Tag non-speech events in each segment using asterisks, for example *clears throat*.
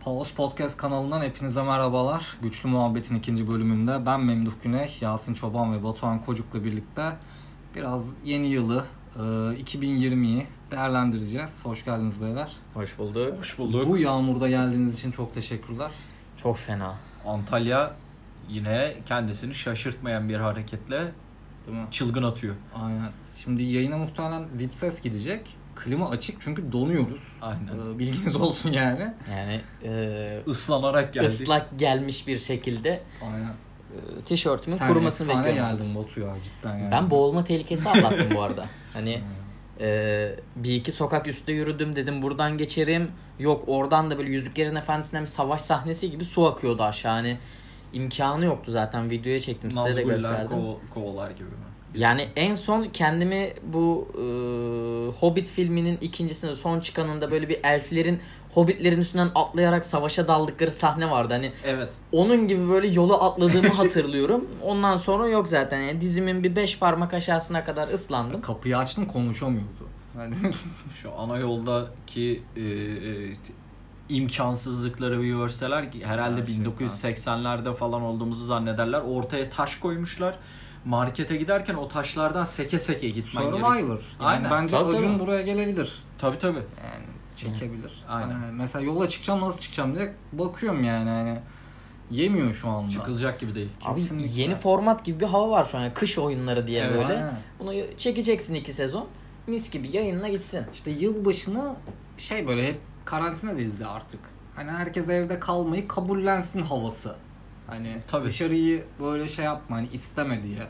Paus Podcast kanalından hepinize merhabalar. Güçlü Muhabbet'in ikinci bölümünde ben Memduh Güney, Yasin Çoban ve Batuhan Kocuk'la birlikte biraz yeni yılı, e, 2020'yi değerlendireceğiz. Hoş geldiniz beyler. Hoş bulduk. Hoş bulduk. Bu yağmurda geldiğiniz için çok teşekkürler. Çok fena. Antalya yine kendisini şaşırtmayan bir hareketle Değil mi? çılgın atıyor. Aynen. Şimdi yayına muhtemelen dip ses gidecek. Klima açık çünkü donuyoruz. Aynen. E, Bilginiz olsun yani. Yani e, Islanarak geldi. ıslak gelmiş bir şekilde Aynen. e, tişörtümün Sen kurumasını efsane bekliyorum. geldin Batu ya cidden yani. Ben boğulma tehlikesi atlattım bu arada. Hani Aynen. e, bir iki sokak üstte yürüdüm dedim buradan geçerim. Yok oradan da böyle Yüzüklerin Efendisi'nden bir savaş sahnesi gibi su akıyordu aşağı. Hani imkanı yoktu zaten videoya çektim size de Nazgûl'ler gösterdim. ko- kovalar gibi mi? Yani en son kendimi bu e, Hobbit filminin ikincisinde son çıkanında böyle bir elflerin Hobbitlerin üstünden atlayarak savaşa daldıkları sahne vardı. Hani Evet. onun gibi böyle yolu atladığımı hatırlıyorum. Ondan sonra yok zaten. Yani dizimin bir beş parmak aşağısına kadar ıslandım. Kapıyı açtım konuşamıyordu. Yani Şu ana yoldaki e, e, t- imkansızlıkları bir görseler ki herhalde şey Gerçekten. 1980'lerde falan olduğumuzu zannederler. Ortaya taş koymuşlar. Markete giderken o taşlardan seke seke gitmen Survivor. gerekiyor. Yani Aynen. Bence Tabii, Acun tabii. buraya gelebilir. Tabii tabii. Yani çekebilir. Aynen. Yani hani mesela yola çıkacağım nasıl çıkacağım diye bakıyorum yani. yani yemiyor şu anda. Çıkılacak gibi değil. Abi Kesinlikle. yeni format gibi bir hava var şu an. Yani kış oyunları diye Evet. böyle. Aynen. Bunu çekeceksin iki sezon. Mis gibi yayınla gitsin. İşte yılbaşını şey böyle hep karantinadayız ya artık. Hani herkes evde kalmayı kabullensin havası. Hani Tabii. dışarıyı böyle şey yapma hani isteme diye.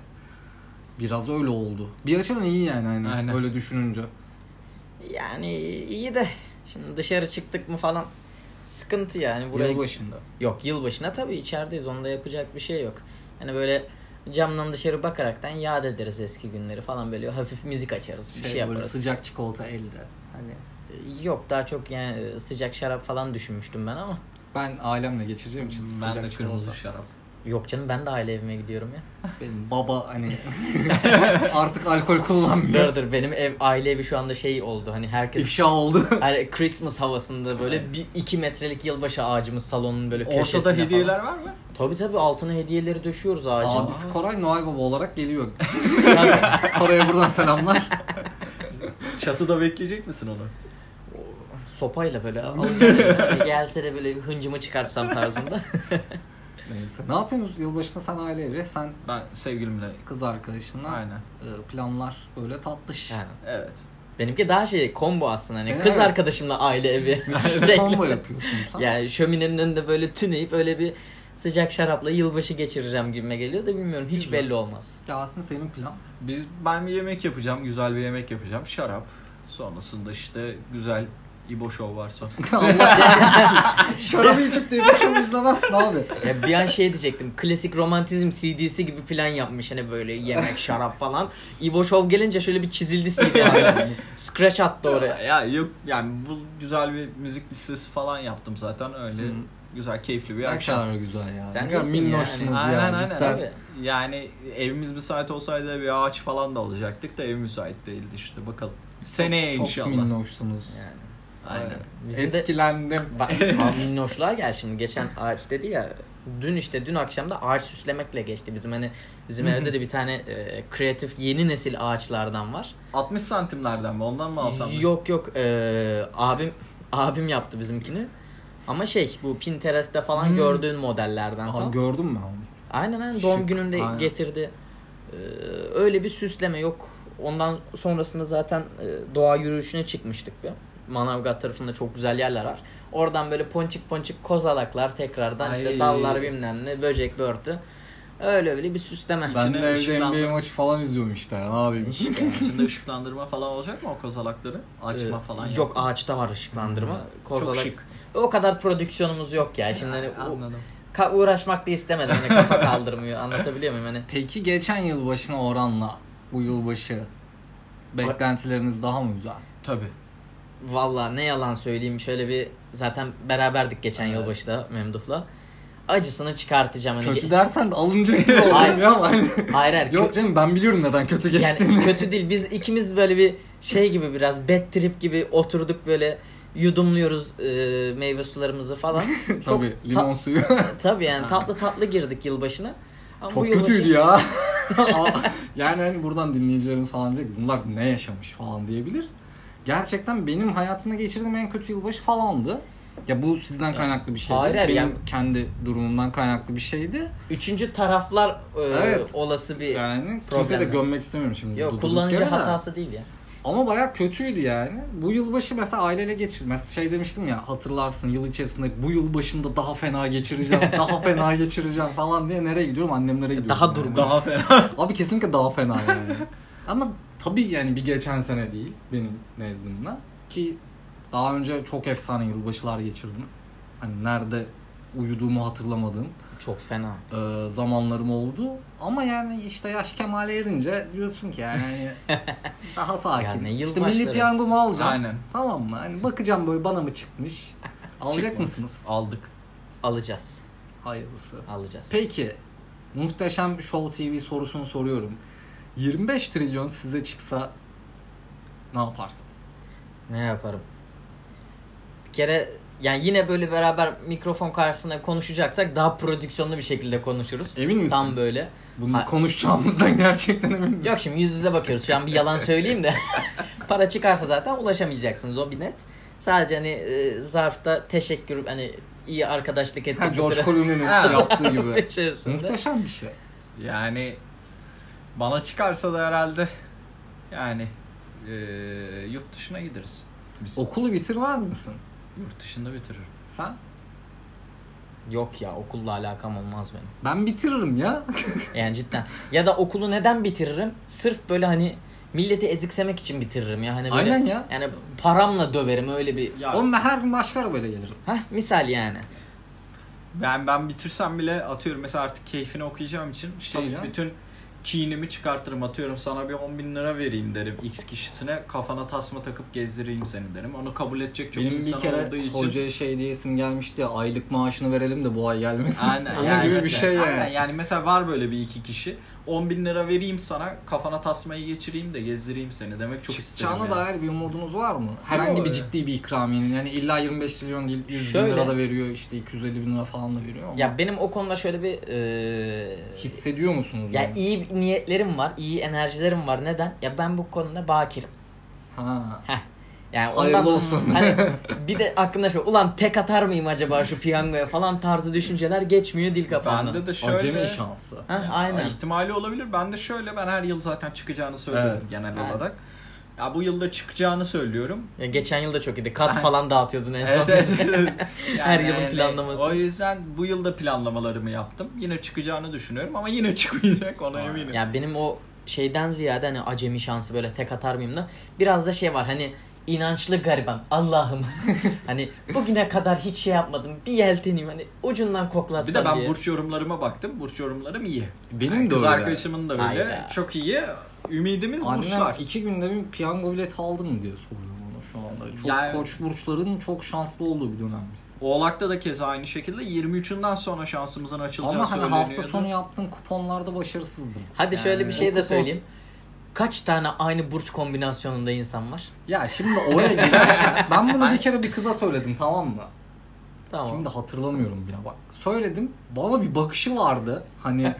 Biraz öyle oldu. Bir açıdan iyi yani hani Aynen. öyle düşününce. Yani iyi de şimdi dışarı çıktık mı falan sıkıntı yani. Buraya Yılbaşında. Yok yılbaşına tabii içerideyiz. Onda yapacak bir şey yok. Hani böyle camdan dışarı bakaraktan yad ederiz eski günleri falan böyle hafif müzik açarız bir şey, Şey, böyle yaparız. Ee, sıcak çikolata elde. Hani Yok daha çok yani e, sıcak şarap falan düşünmüştüm ben ama. ben ailemle geçireceğim için Ben sıcak de çikolata. kırmızı şarap. Yok canım ben de aile evime gidiyorum ya. Benim baba hani *laughs* artık alkol kullanmıyor. dur dur benim ev aile evi şu anda şey oldu hani herkes İfşa oldu. hani Christmas havasında böyle bir iki metrelik yılbaşı ağacımız salonun böyle köşesinde Ortada hediyeler falan. var mı? Tabii tabii altına hediyeleri döşüyoruz ağacın. Abisi Koray Noel Baba olarak geliyor. Koray'a buradan selamlar. Çatıda bekleyecek misin onu? Sopayla böyle alacağım. hani gelse de böyle bir hıncımı çıkarsam tarzında. Neyse. Ne yapıyorsunuz yılbaşında sen aile evi, sen Ben sevgilimle. kız arkadaşınla Aynen. e, planlar böyle tatlış. Yani Evet. benimki daha şey combo aslında hani Senin kız evet. arkadaşımla aile evi. *laughs* *laughs* İşte combo yapıyorsun sen. yani şöminenin önünde böyle tüneyip öyle bir sıcak şarapla yılbaşı geçireceğim gibime geliyor da bilmiyorum hiç Güzel. belli olmaz. Yasin senin plan. Biz ben bir yemek yapacağım, güzel bir yemek yapacağım. Şarap. Sonrasında işte güzel İbo Show var sonra. *laughs* *laughs* *laughs* Allah kahretsin. Şarabı içip de yapışımı izlemezsin abi. Ya bir an şey diyecektim. Klasik romantizm CD'si gibi plan yapmış hani böyle yemek, şarap falan. İbo Show gelince şöyle bir çizildi CD. *laughs* abi. Scratch attı ya, oraya. ya yok yani bu güzel bir müzik listesi falan yaptım zaten öyle Hı. güzel keyifli bir Ne akşam. kadar güzel ya. Sen ne kadar iyisin minnoşsunuz yani. ya. Aynen aynen cidden. abi. Yani evimiz müsait olsaydı bir ağaç falan da alacaktık da ev müsait değildi işte bakalım. Seneye Çok inşallah. minnoşsunuz. Yani. Aynen. Bizim de Etkilendim. Bak abi minnoşluğa gel şimdi geçen ağaç dedi ya dün işte dün akşam da ağaç süslemekle geçti bizim hani bizim evde de bir tane e, kreatif yeni nesil ağaçlardan var. 60 santimlerden mi ondan mı alsam? mı? Yok yok e, abim abim yaptı bizimkini. Ama şey bu Pinterest'te falan Hmm. gördüğün modellerden Aa, falan. gördün mü onu? aynen aynen doğum Şık, gününde aynen. getirdi. E, öyle bir süsleme yok. Ondan sonrasında zaten e, doğa yürüyüşüne çıkmıştık bir. Manavgat tarafında çok güzel yerler var. Oradan böyle ponçik ponçik kozalaklar tekrardan işte Ay. dallar bilmem ne böcek börtü. Öyle öyle bir süsleme. Ben İçine de evde ışıklandı. NBA maçı falan izliyorum işte. Ne yapayım? İçinde ışıklandırma falan olacak mı o kozalakları? Açma Ee, falan Hmm. Yok ağaçta var ışıklandırma. Çok Kozalak. şık. O kadar prodüksiyonumuz yok ya. Şimdi hani o- *laughs* Anladım. ka- uğraşmak da istemedim. Hani kafa kaldırmıyor. Anlatabiliyor muyum? Hani Peki geçen yılbaşına oranla bu yılbaşı beklentileriniz daha mı güzel? Tabii. Valla ne yalan söyleyeyim şöyle bir zaten beraberdik geçen Evet. yılbaşı da Memduh'la. Acısını çıkartacağım hani. Kötü dersen de alınca iyi *laughs* olur Hayır. ya ama. Hayır *laughs* hayır, Yok kö- canım ben biliyorum neden kötü geçtiğini. Yani kötü değil. Biz ikimiz böyle bir şey gibi biraz bad trip gibi oturduk böyle yudumluyoruz e, meyve sularımızı falan. *laughs* Çok Tabii limon suyu. *laughs* ta- tabii yani tatlı tatlı girdik yılbaşına. Ama Çok yılbaşı- kötüydü *laughs* ya. yani hani buradan dinleyicilerimiz falan diyecek bunlar ne yaşamış falan diyebilir. Gerçekten benim hayatımda geçirdiğim en kötü yılbaşı falandı. Ya bu sizden kaynaklı bir şey. Hayır, değil. hayır, Benim yani- kendi durumumdan kaynaklı bir şeydi. Üçüncü taraflar e, Evet. olası bir Yani kimse Problem de yok. gömmek istemiyorum şimdi. yok durduk kullanıcı yere de. hatası değil ya. Ama baya kötüydü yani. Bu yılbaşı mesela aileyle geçirmez. Şey demiştim ya hatırlarsın yıl içerisinde bu yıl başında daha fena *laughs* geçireceğim, daha fena geçireceğim falan diye nereye gidiyorum? Annemlere gidiyorum. Daha yani. durgun. Daha fena. Abi kesinlikle daha fena yani. Ama tabii yani bir geçen sene değil benim nezdimde. Ki daha önce çok efsane yılbaşılar geçirdim. Hani nerede uyuduğumu hatırlamadığım Çok fena. e, zamanlarım oldu. Ama yani işte yaş kemale erince diyorsun ki yani *laughs* hani daha sakin. Yani işte yılbaşları. milli piyangomu alacağım. *laughs* Aynen. Tamam mı? Hani bakacağım böyle bana mı *laughs* çıkmış? Alacak Çıkmadı. mısınız? Aldık. Alacağız. Hayırlısı. Alacağız. Peki muhteşem Show TV sorusunu soruyorum. 25 trilyon size çıksa ne yaparsınız? Ne yaparım? Bir kere yani yine böyle beraber mikrofon karşısında konuşacaksak daha prodüksiyonlu bir şekilde konuşuruz. Emin misin? Tam böyle. Bunu Ha- konuşacağımızdan *laughs* gerçekten emin misin? Yok şimdi yüz yüze bakıyoruz. Şu an bir yalan *laughs* söyleyeyim de. *laughs* Para çıkarsa zaten ulaşamayacaksınız o bir net. Sadece hani e, zarfta teşekkür hani iyi arkadaşlık ettik Ha, bir George süre Clooney'nin Ha. yaptığı gibi. *laughs* içerisinde. Muhteşem bir şey. Yani bana çıkarsa da herhalde yani e, yurt dışına gideriz. Biz Okulu bitirmez misin? yurt dışında bitiririm. Sen? Yok ya okulla alakam olmaz benim. Ben bitiririm ya. Yani cidden. Ya da okulu neden bitiririm? Sırf böyle hani milleti eziksemek için bitiririm ya. Hani böyle, Aynen ya. Yani paramla döverim öyle bir. Ya Oğlum ben her gün başka arabayla gelirim. Hah misal yani. ben ben bitirsem bile atıyorum mesela artık keyfini okuyacağım için Tabii şey canım. bütün kinimi çıkartırım atıyorum sana bir 10 bin lira vereyim derim x kişisine kafana tasma takıp gezdireyim seni derim onu kabul edecek çok Benim bir insan olduğu kere için hocaya şey diyesim gelmişti ya aylık maaşını verelim de bu ay gelmesin. Aynen. Onun yani gibi bir işte, şey yani. Aynen yani mesela var böyle bir iki kişi. 10 bin lira vereyim sana kafana tasmayı geçireyim de gezdireyim seni demek çok isterim. Çıkacağına yani. dair bir umudunuz var mı? Herhangi Yok. bir ciddi bir ikramiyenin yani illa 25 milyon değil 100 Şöyle. bin lira da veriyor işte 250 bin lira falan da veriyor ama Ya benim o konuda şöyle bir e, hissediyor musunuz? ya yani? iyi niyetlerim var, iyi enerjilerim var. Neden? Ya ben bu konuda bakirim. Ha. Heh. Yani ondan, Hayırlı olsun. *laughs* *laughs* Hani bir de aklımda şöyle ulan tek atar mıyım acaba şu piyangoya falan tarzı düşünceler geçmiyor dil kafamdan. Bende de şöyle. Acemi şansı. Heh, aynen. İhtimali olabilir. Ben de şöyle ben her yıl zaten çıkacağını söylüyorum Evet. genel Evet. olarak. Ya bu yılda çıkacağını söylüyorum. Ya geçen yıl da çok iyiydi. Kat falan dağıtıyordun en Evet, son. evet. Yani Her yılın hani planlaması. O yüzden bu yılda planlamalarımı yaptım. Yine çıkacağını düşünüyorum ama yine *laughs* çıkmayacak ona eminim. Ya benim o şeyden ziyade hani acemi şansı böyle tek atar mıyım da biraz da şey var hani inançlı gariban Allah'ım *laughs* hani bugüne kadar hiç şey yapmadım bir yelteneyim hani ucundan koklatsam bir de ben diye. burç yorumlarıma baktım. Burç yorumlarım iyi. Benim Yani de kız öyle. arkadaşımın da öyle. Hayda. Çok iyi. Ümidimiz Annem burçlar. iki günde bir piyango bileti aldın mı diye soruyor bana şu anda. Çok Yani- koç burçların çok şanslı olduğu bir dönemimiz. Oğlak'ta da keza aynı şekilde 23'ünden sonra şansımızın açılacağı Ama hani söyleniyordu. hafta sonu yaptığım kuponlarda başarısızdım. Hadi şöyle Yani bir şey de okul- söyleyeyim. Kaç tane aynı burç kombinasyonunda insan var? Ya şimdi oraya *laughs* girersen ben bunu bir kere bir kıza söyledim tamam mı? Tamam. Şimdi hatırlamıyorum bile bak. Söyledim. Bana bir bakışı vardı. *laughs* Hani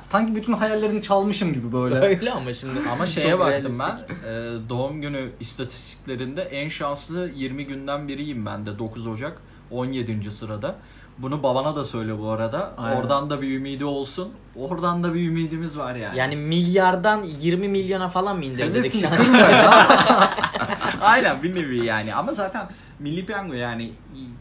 sanki bütün hayallerini çalmışım gibi böyle. *laughs* Öyle ama şimdi. Ama şeye Çok baktım ben realistik. *laughs* e, doğum günü istatistiklerinde en şanslı 20 günden biriyim ben de 9 Ocak 17. sırada. Bunu babana da söyle bu arada. Aynen. Oradan da bir ümidi olsun. Oradan da bir ümidimiz var yani. Yani milyardan 20 milyona falan mı indirdik Hevesini şu *laughs* an? kırma ya. *laughs* Aynen bir nevi yani. Ama zaten Milli Piyango yani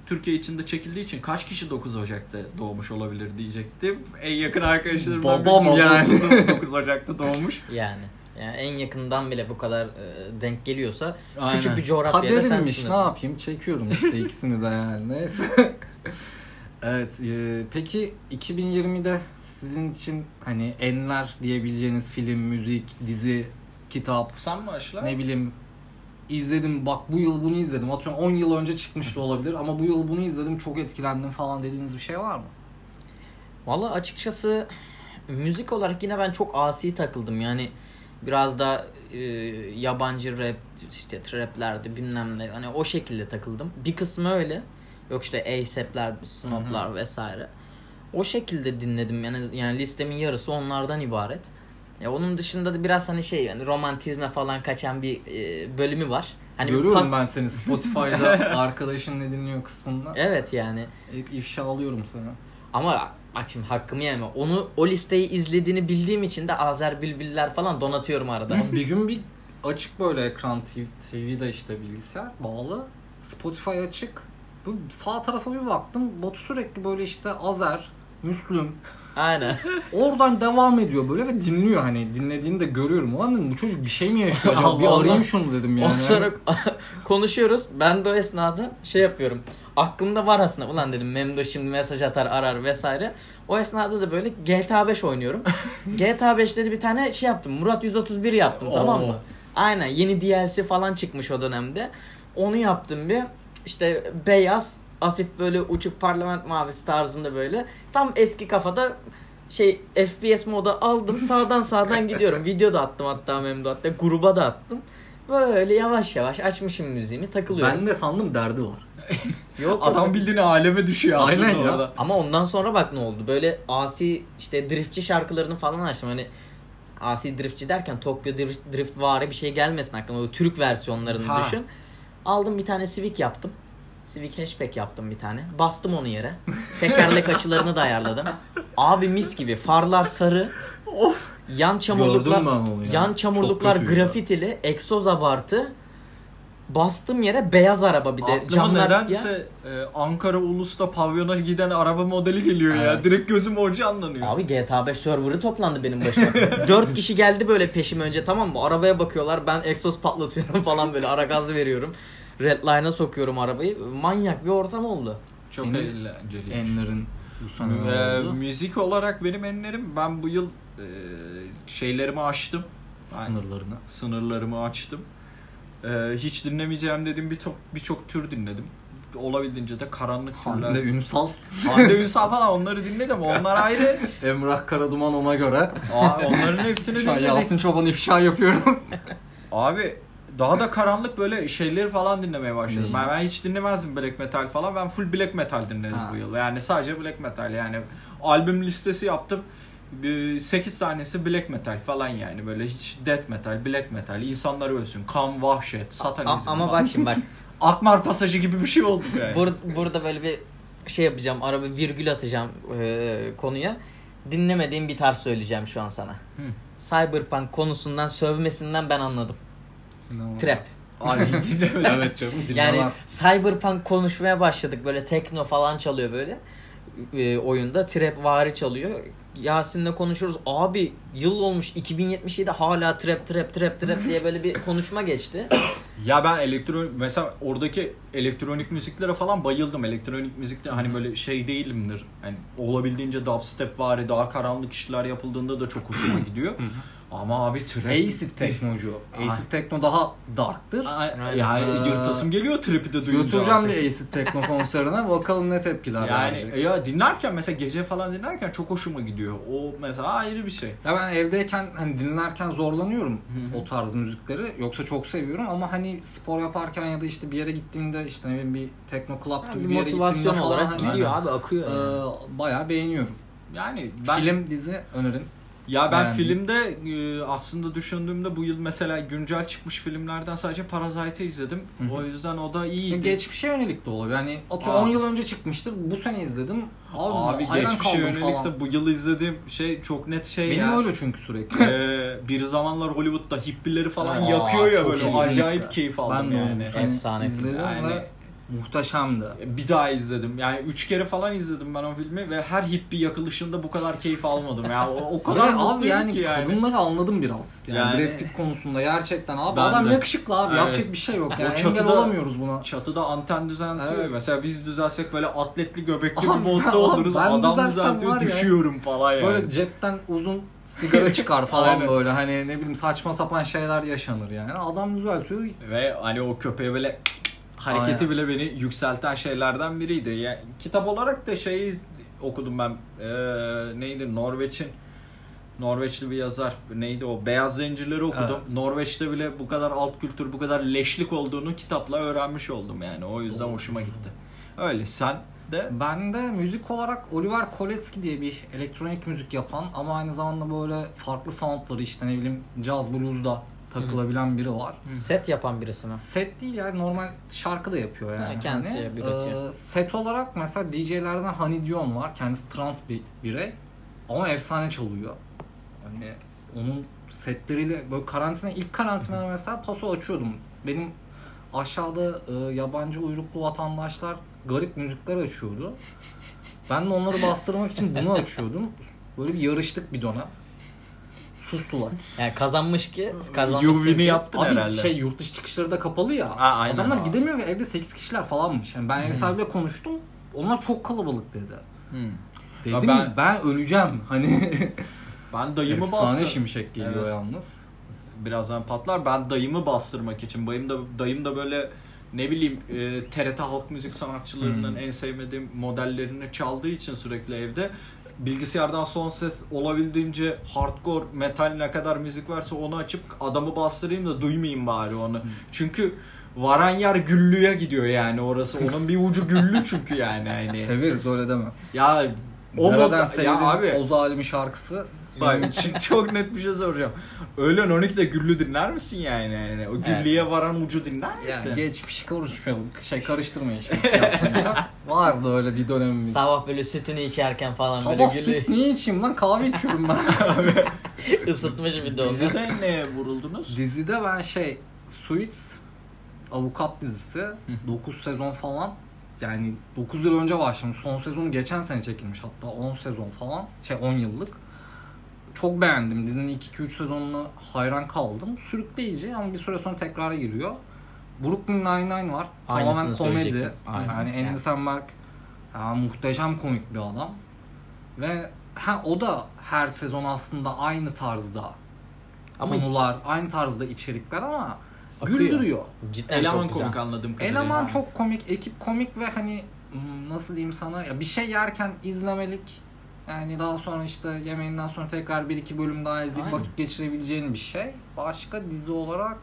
Türkiye içinde çekildiği için kaç kişi 9 Ocak'ta doğmuş olabilir diyecektim. En yakın arkadaşlarımdan Babam babası yani. *laughs* da 9 Ocak'ta doğmuş. Yani. Yani en yakından bile bu kadar e, denk geliyorsa Aynen. küçük bir *laughs* coğrafyada sensin. Kaderimmiş ne dedim. yapayım çekiyorum işte ikisini de yani neyse. *laughs* evet e, peki 2020'de sizin için hani enler diyebileceğiniz film, müzik, dizi, kitap Sen mi başla? ne bileyim izledim bak bu yıl bunu izledim atıyorum 10 yıl önce çıkmış da olabilir ama bu yıl bunu izledim çok etkilendim falan dediğiniz bir şey var mı? Valla açıkçası müzik olarak yine ben çok asi takıldım yani biraz da e, yabancı rap işte traplerdi bilmem ne hani o şekilde takıldım. Bir kısmı öyle. Yok işte ASAP'ler, Snop'lar vesaire. O şekilde dinledim yani yani listemin yarısı onlardan ibaret. Ya onun dışında da biraz hani şey yani romantizme falan kaçan bir e, bölümü var. Hani bir Görüyorum pas- ben seni *laughs* Spotify'da arkadaşın ne dinliyor kısmında. Evet yani. Hep ifşa alıyorum sana. Ama bak şimdi hakkımı yeme. Onu o listeyi izlediğini bildiğim için de Azer Bülbüller falan *laughs* donatıyorum arada. bir gün bir açık böyle ekran TV, TV'de işte bilgisayar bağlı. Spotify açık. Bu sağ tarafa bir baktım. Batu sürekli böyle işte Azer, Müslüm Aynen. oradan devam ediyor böyle ve dinliyor hani dinlediğini de görüyorum. Ulan dedim bu çocuk bir şey mi yaşıyor acaba? Allah bir arayayım Allah. şunu dedim Ondan yani. sonra *laughs* konuşuyoruz. Ben de o esnada şey yapıyorum. Aklımda var aslında. Ulan dedim Memdo şimdi mesaj atar arar vesaire. O esnada da böyle GTA 5 oynuyorum. GTA 5'te de bir tane şey yaptım. Murat 131 yaptım tamam mı? Oo. Aynen yeni DLC falan çıkmış o dönemde. Onu yaptım bir. İşte beyaz hafif böyle uçuk parlament mavisi tarzında böyle. Tam eski kafada şey FPS moda aldım sağdan sağdan gidiyorum. Video da attım hatta Memdu hatta gruba da attım. Böyle yavaş yavaş açmışım müziğimi takılıyorum. Ben de sandım derdi var. Yok yok. Adam bildiğin aleme düşüyor aslında Aynen ya. orada. Ama ondan sonra bak ne oldu. Böyle asi işte driftçi şarkılarını falan açtım. Hani asi driftçi derken Tokyo drift, drift vari bir şey gelmesin aklıma. O Türk versiyonlarını Ha. düşün. Aldım bir tane Civic yaptım. Civic hatchback yaptım bir tane. Bastım onu yere. Tekerlek açılarını da ayarladım. Abi mis gibi. Farlar sarı. Of. Yan çamurluklar, Gördüm ben onu ya. yan Çok çamurluklar kötüydü. grafitili, egzoz abartı. Bastım yere beyaz araba bir de Aklıma camlar siyah. nedense e, Ankara Ulus'ta pavyona giden araba modeli geliyor ya. Evet. Direkt gözüm o canlanıyor. Abi GTA 5 serverı toplandı benim başıma. 4 kişi geldi böyle peşim önce tamam mı? Arabaya bakıyorlar ben egzoz patlatıyorum *laughs* falan böyle ara gaz veriyorum. Redline'a sokuyorum arabayı. Manyak bir ortam oldu. Çok Senin eğlenceli. Enlerin bu sene ne Ee, oldu? müzik olarak benim enlerim ben bu yıl e, şeylerimi açtım. Yani Sınırlarını. sınırlarımı açtım. Ee, hiç dinlemeyeceğim dediğim birçok birçok tür dinledim. Olabildiğince de karanlık Hande türler. Ünsal, Hande Ünsal falan onları dinledim. Onlar ayrı. Emrah Karaduman ona *laughs* göre. Aa, onların *laughs* hepsini Şu an Yasin dinledik. Çoban ifşa yapıyorum. Abi daha da karanlık böyle şeyleri falan dinlemeye başladım. Neyi? Ben, ben hiç dinlemezdim black metal falan. Ben full black metal dinledim Ha. bu yıl. Yani sadece black metal yani albüm listesi yaptım. 8 tanesi black metal falan yani böyle hiç death metal, black metal, insanlar ölsün, kan, vahşet, A- satanizm. ama falan. bak şimdi bak. Akmar pasajı gibi bir şey oldu yani. Bur- burada böyle bir şey yapacağım. Araba virgül atacağım eee, konuya. Dinlemediğim bir tarz söyleyeceğim şu an sana. Cyberpunk konusundan sövmesinden ben anladım. Trap. Abi dinlemedim. evet canım Yani dinlemez. cyberpunk konuşmaya başladık böyle tekno falan çalıyor böyle e, oyunda trap vari çalıyor. Yasin'le konuşuyoruz. Abi yıl olmuş 2077 hala trap trap trap trap diye böyle bir *laughs* konuşma geçti. Ya ben elektronik mesela oradaki elektronik müziklere falan bayıldım. Elektronik müzikte hani böyle şey değilimdir. Hani olabildiğince dubstep var daha karanlık işler yapıldığında da çok hoşuma gidiyor. Ama abi trap *laughs* Acid Teknocu. Acid Tekno daha darktır. Aa, ya Aynen. yırtasım geliyor trap'i de duyunca. Götüreceğim artık. bir Acid Tekno *laughs* konserine. Bakalım ne tepkiler yani verecek. ya dinlerken mesela gece falan dinlerken çok hoşuma gidiyor. O mesela ayrı bir şey. Ya ben evdeyken hani dinlerken zorlanıyorum o tarz müzikleri. Yoksa çok seviyorum ama hani spor yaparken ya da işte bir yere gittiğimde işte ne bileyim bir tekno club Yani gibi bir bir yere motivasyon gittiğimde falan olarak hani gidiyor Aynen. abi akıyor. yani. Ee, bayağı beğeniyorum. Yani ben Film, dizi önerin. Ya ben Beğendim. filmde e, aslında düşündüğümde bu yıl mesela güncel çıkmış filmlerden sadece Parasite'ı izledim. O yüzden o da iyiydi. Geçmişe yönelik de oluyor. Yani atıyorum Aa. 10 yıl önce çıkmıştır. Bu sene izledim. Abi, Abi hayran geçmişe kaldım yönelikse falan. bu yıl izlediğim şey çok net şey Benim ya. öyle çünkü *laughs* sürekli. E, bir zamanlar Hollywood'da hippileri falan Aa, yakıyor ya çok böyle kesinlikle. acayip keyif aldım ben de yani. onu bu sene Efsane film. izledim Yani- ve muhteşemdi. Bir daha izledim. Yani üç kere falan izledim ben o filmi ve her hippi yakılışında bu kadar keyif almadım. Ya o, o Ve kadar abi mutluyum yani, ki yani. kadınları anladım biraz. Yani, Yani- Brad Pitt konusunda gerçekten abi Ben adam de. yakışıklı abi Evet. yapacak bir şey yok. O Yani engel çatıda- olamıyoruz buna. Çatıda anten düzeltiyor. Evet. Mesela biz düzelsek böyle atletli göbekli bir Abi, modda abi oluruz. ben Adam düzelsem düzeltiyor var ya. düşüyorum falan yani. Böyle cepten uzun sigara çıkar falan *laughs* Aynen. böyle hani ne bileyim saçma sapan şeyler yaşanır yani. Adam düzeltiyor. Ve hani o köpeğe böyle hareketi Aynen. bile beni yükselten şeylerden biriydi. Ya, kitap olarak da şeyi iz- okudum ben. Ee, neydi? Norveç'in Norveçli bir yazar. Neydi o? Beyaz Zincirleri okudum. Evet. Norveç'te bile bu kadar alt kültür, bu kadar leşlik olduğunu kitapla öğrenmiş oldum yani. O yüzden hoşuma gitti. Öyle sen de Ben de müzik olarak Oliver Koletski diye bir elektronik müzik yapan ama aynı zamanda böyle farklı soundları işte ne bileyim caz blues'da takılabilen biri var. Set yapan birisi mi? Set değil yani normal şarkı da yapıyor yani. Ha, kendisi Hani, üretiyor. e, set olarak mesela DJ'lerden Hani Dion var. Kendisi trans bir birey ama efsane çalıyor. Hani onun setleriyle böyle karantina ilk karantinada mesela paso açıyordum. Benim aşağıda e, yabancı uyruklu vatandaşlar garip müzikler açıyordu. Ben de onları bastırmak için bunu açıyordum. Böyle bir yarıştık bir dönem. Sustular. Yani kazanmış ki kazanmış. Yuvin'i ki- yaptın Abi herhalde. şey yurt dışı çıkışları da kapalı ya. Ha, aynen Adamlar abi. gidemiyor ve evde 8 kişiler falanmış. Yani ben ev sahibiyle konuştum. Onlar çok kalabalık dedi. Hmm. Dedim Ya ben, ben- ben öleceğim. *laughs* Hani Ben dayımı efsane bastırdım. şimşek geliyor Evet. yalnız. birazdan patlar. Ben dayımı bastırmak için. Dayım da, dayım da böyle ne bileyim e, TRT halk müzik sanatçılarının en sevmediğim modellerini çaldığı için sürekli evde bilgisayardan son ses olabildiğince hardcore metal ne kadar müzik varsa onu açıp adamı bastırayım da duymayayım bari onu. Çünkü varan yer güllüye gidiyor yani orası. Onun bir ucu güllü çünkü yani. hani. Severiz öyle deme. Ya o Nereden moda- sevdiğin ya abi o zalimi şarkısı. *laughs* Bak şimdi çok net bir şey soracağım. Öğlen 12'de güllü dinler misin yani? yani o güllüye varan ucu dinler misin? Yani geçmiş konuşmayalım. Şey karıştırmayın şimdi. Şey *laughs* yapmayın. Vardı öyle bir dönemimiz. Sabah böyle sütünü içerken falan Sabah böyle gülü süt niye içeyim lan? Kahve içiyorum ben. *laughs* ısıtmış bir de onu. Dizide neye vuruldunuz? Dizide ben şey Suits avukat dizisi 9 sezon falan yani 9 yıl önce başlamış. Son sezonu geçen sene çekilmiş hatta 10 sezon falan şey 10 yıllık. Çok beğendim. Dizinin ilk 2-3 sezonuna hayran kaldım. Sürükleyici ama bir süre sonra tekrara giriyor. Brooklyn Nine-Nine var. Aynısını Tamamen komedi. söyleyecektim. Yani Aynen. Andy Yani. Samberg ya, muhteşem komik bir adam. Ve ha, o da her sezon aslında aynı tarzda Ama konular, aynı tarzda içerikler ama Akıyor. güldürüyor. cidden Eleman çok güzel. komik anladığım kadarıyla. Eleman çok komik, ekip komik ve hani hmm, nasıl diyeyim sana ya bir şey yerken izlemelik yani daha sonra işte yemeğinden sonra tekrar bir iki bölüm daha izleyip Aynen. vakit geçirebileceğin bir şey. Başka dizi olarak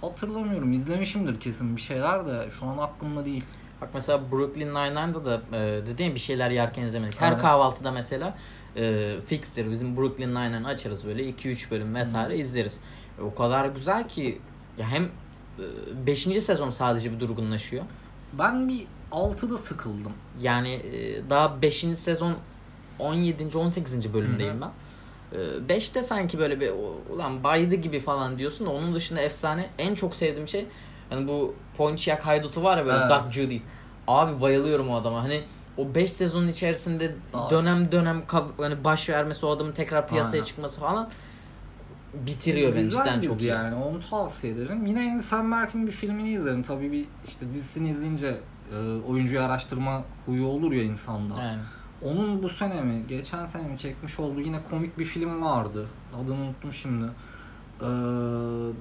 hatırlamıyorum. İzlemişimdir kesin bir şeyler de şu an aklımda değil. Bak mesela Brooklyn Nine-Nine'da da e, dediğim bir şeyler yerken izlemedik. Her Evet. kahvaltıda mesela e, fixtir bizim Brooklyn Nine-Nine açarız böyle 2-3 bölüm vesaire izleriz. E, o kadar güzel ki ya hem 5. sezon sadece bir durgunlaşıyor. Ben bir 6'da sıkıldım. Yani e, daha 5. sezon 17. 18. bölümdeyim ben. 5'te sanki böyle bir "O- ulan baydı gibi falan diyorsun. da Onun dışında efsane en çok sevdiğim şey hani bu Pontiac haydutu var ya böyle Evet. Doug Judy. Abi bayılıyorum o adama. Hani o 5 sezonun içerisinde Daha dönem dönem kav- hani baş vermesi o adamın tekrar piyasaya Aynen. çıkması falan bitiriyor beni Güzel cidden dizi çok iyi. yani onu tavsiye ederim. Yine Andy Samberg'in bir filmini izledim. Tabii bir işte dizisini izleyince e, oyuncuyu araştırma huyu olur ya insanda. Yani. Onun bu sene mi, geçen sene mi çekmiş olduğu yine komik bir film vardı. Adını unuttum şimdi. Ee,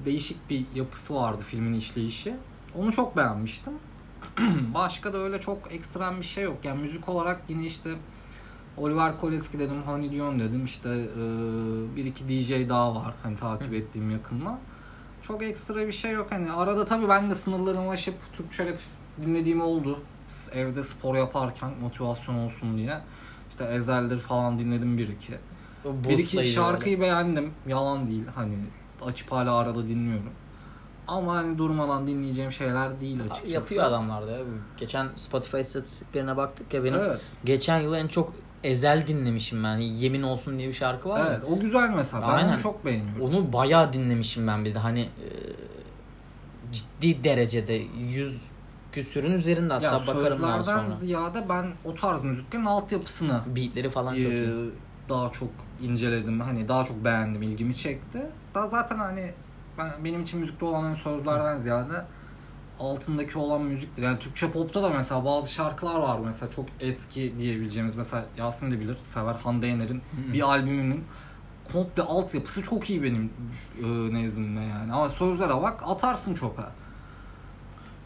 değişik bir yapısı vardı filmin işleyişi. Onu çok beğenmiştim. *clears throat* Başka da öyle çok ekstrem bir şey yok. Yani müzik olarak yine işte Oliver Koleski dedim, Honey Dion dedim. İşte ee, bir iki DJ daha var hani takip ettiğim yakınla. Çok ekstra bir şey yok. Hani arada tabii ben de sınırlarımı aşıp Türkçe rap dinlediğim oldu. Evde spor yaparken motivasyon olsun diye. İşte Ezel'dir falan dinledim bir iki. O Bir boostlayıcı iki böyle. şarkıyı beğendim. Yalan değil. Hani açıp hala arada dinliyorum. Ama hani durmadan dinleyeceğim şeyler değil açıkçası. Yapıyor adamlar da. ya. Geçen Spotify istatistiklerine baktık ya benim Evet. geçen yıl en çok Ezel dinlemişim ben. Yemin olsun diye bir şarkı var. ya. Evet. O güzel mesela. Ben Aynen. onu çok beğeniyorum. Onu bayağı dinlemişim ben bir de hani e, ciddi derecede yüz küsürün üzerinde hatta ya bakarım daha sözlerden sonra. ziyade ben o tarz müziklerin altyapısını Beatleri falan çok Ee, iyi. daha çok inceledim. Hani daha çok beğendim, ilgimi çekti. Daha zaten hani ben, benim için müzikte olan hani sözlerden ziyade altındaki olan müziktir. Yani Türkçe popta da mesela bazı şarkılar var mesela çok eski diyebileceğimiz mesela Yasin de bilir, sever Hande Yener'in Hmm. bir albümünün komple altyapısı çok iyi benim e, nezdimde yani. Ama sözlere bak atarsın çöpe.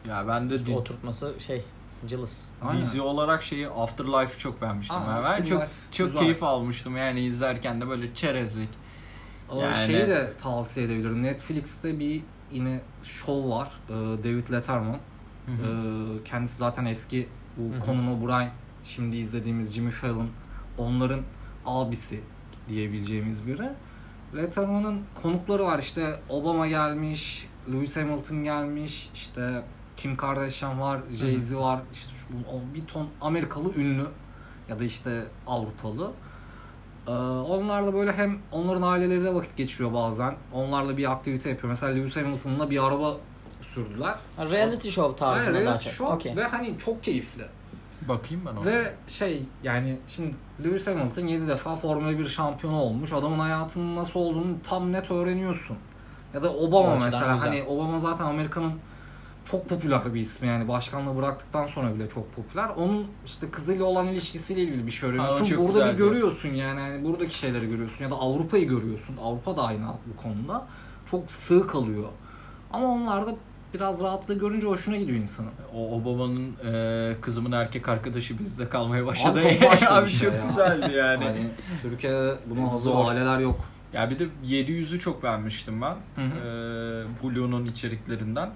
Ya ben de di- Oturtması şey Cılız. Aynen. Dizi olarak şeyi Afterlife'ı çok beğenmiştim. Aa, yani. Ben çok Afterlife çok güzel. keyif almıştım yani izlerken de böyle çerezlik. O Yani- şeyi de tavsiye edebilirim. Netflix'te bir yine show var. Ee, David Letterman. Ee, kendisi zaten eski Hı hı. bu Conan O'Brien, şimdi izlediğimiz Jimmy Fallon onların abisi diyebileceğimiz biri. Letterman'ın konukları var işte Obama gelmiş, Lewis Hamilton gelmiş, işte Kim Kardashian var, Jay-Z var, işte şu- bu- o bir ton Amerikalı ünlü ya da işte Avrupalı. Ee, onlarla böyle hem onların aileleriyle vakit geçiriyor bazen. Onlarla bir aktivite yapıyor. Mesela Lewis Hamilton'la bir araba sürdüler. Ha, Reality show tarzında Aynen, daha evet, çok. şu an- Okey. Ve hani çok keyifli. Bakayım ben ona. Ve şey yani şimdi Lewis Hamilton 7 defa Formula 1 şampiyonu olmuş. Adamın hayatının nasıl olduğunu tam net öğreniyorsun. Ya da O Obama açıdan mesela güzel. hani Obama zaten Amerika'nın çok popüler bir ismi yani başkanlığı bıraktıktan sonra bile çok popüler. Onun işte kızıyla olan ilişkisiyle ilgili bir şey Aa, öğreniyorsun. çok Burada bir güzeldi. görüyorsun yani, yani buradaki şeyleri görüyorsun ya da Avrupa'yı görüyorsun. Avrupa da aynı bu konuda. Çok sığ kalıyor. Ama onlar da biraz rahatlığı görünce hoşuna gidiyor insanın. O, o babanın e, kızımın erkek arkadaşı bizde kalmaya başladı. Abi çok başka bir *laughs* Abi şey çok ya. güzeldi yani. Hani Türkiye'de buna hazır Zor. aileler yok. Ya bir de 700'ü çok beğenmiştim ben. Hı hı. Ee, Blue'nun içeriklerinden.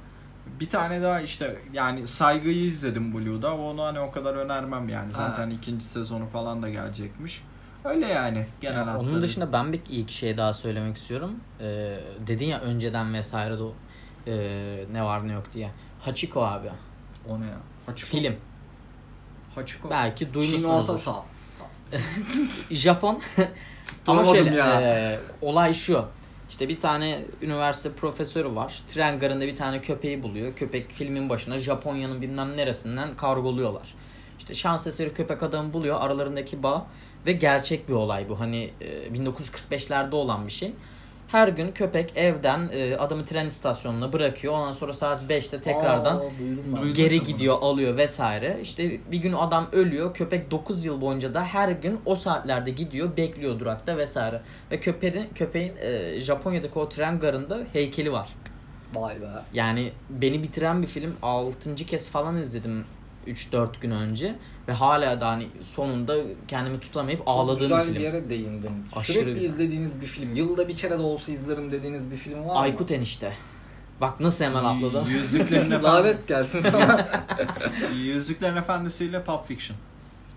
Bir tane daha işte yani Saygı'yı izledim Blue'da. Onu hani o kadar önermem yani. Zaten Evet. ikinci sezonu falan da gelecekmiş. Öyle yani genel Yani onun hatları. dışında ben bir ilk şey daha söylemek istiyorum. Ee, dedin ya önceden vesaire de o- ee, ne var ne yok diye. Hachiko abi. O ne ya? Hachiko- Film. Hachiko. Belki Çin orta duymuşsunuzdur. saha. *laughs* Japon. Ama Duramadım şöyle, ya. ee, olay şu. İşte bir tane üniversite profesörü var. Tren garında bir tane köpeği buluyor. Köpek filmin başına Japonya'nın bilmem neresinden kargoluyorlar. İşte şans eseri köpek adamı buluyor. Aralarındaki bağ ve gerçek bir olay bu. Hani e, 1945'lerde olan bir şey. Her gün köpek evden e, adamı tren istasyonuna bırakıyor. Ondan sonra saat 5'te tekrardan Aa, duydum ben. Duydum. geri bunu. gidiyor, alıyor vesaire. İşte bir gün adam ölüyor. Köpek 9 yıl boyunca da her gün o saatlerde gidiyor, bekliyor durakta vesaire. Ve köpeğin köpeğin e, Japonya'daki o tren garında heykeli var. Vay be. Yani beni bitiren bir film 6. kez falan izledim 3-4 gün önce ve hala da hani sonunda kendimi tutamayıp ağladığım Güzel bir film. bir yere değindin. Aşırı Sürekli güzel. izlediğiniz bir film. Yılda bir kere de olsa izlerim dediğiniz bir film var mı? *laughs* Aykut enişte. Bak nasıl hemen atladı. *laughs* Yüzüklerin Efendisi. Davet gelsin sana. Yüzüklerin Efendisi ile Pulp Fiction.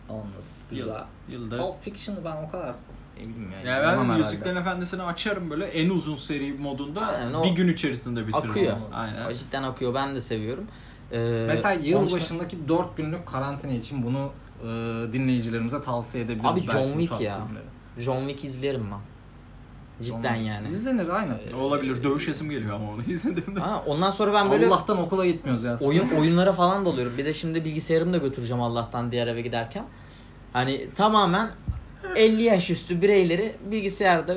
Anladım. Yıl- Güzel. Yılda. Pulp Fiction'ı ben o kadar ne bileyim yani. Yani ben izlemem Yüzüklerin herhalde. Efendisi'ni açarım böyle en uzun seri modunda Aynen, o- bir gün içerisinde bitiririm. Akıyor. Aynen. Cidden akıyor. Ben de seviyorum. Ee, Mesela onun yıl dışında- başındaki 4 günlük karantina için bunu e, dinleyicilerimize tavsiye edebiliriz. Abi belki John bu Wick tarz ya. filmleri. John Wick izlerim ben. John Cidden Wick. yani. İzlenir aynen. Olabilir dövüşesim geliyor ama onu *laughs* izlediğimde. Ha, ondan sonra ben böyle Allah'tan okula gitmiyoruz ya. oyun oyunlara falan da oluyorum. Bir de şimdi bilgisayarımı da götüreceğim Allah'tan diğer eve giderken. Hani tamamen 50 yaş üstü bireyleri bilgisayarda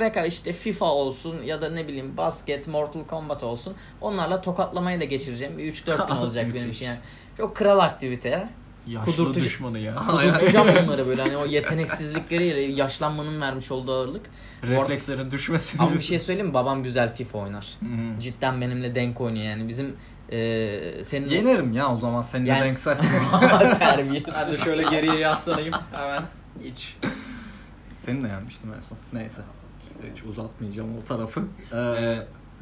reka işte FIFA olsun ya da ne bileyim basket, Mortal Kombat olsun. Onlarla tokatlamayla geçireceğim. Bir *laughs* 3-4 gün olacak benim Müthiş. için yani. Çok kral aktivite ya. Yaşlı Kudurtucu. düşmanı ya. Kudurtacağım onları böyle hani o yeteneksizlikleriyle yaşlanmanın vermiş olduğu ağırlık. Reflekslerin düşmesini. Ama bir şey söyleyeyim mi? Babam güzel FIFA oynar. şey- Cidden benimle denk oynuyor yani. Bizim eee senin Yenerim ya o zaman seninle Yani- denksel. *laughs* Ben de terbiyesiz. şöyle geriye yaslanayım hemen. İç. Seni de yenmiştim en son. Neyse. Hiç uzatmayacağım o tarafı. *laughs* Ee,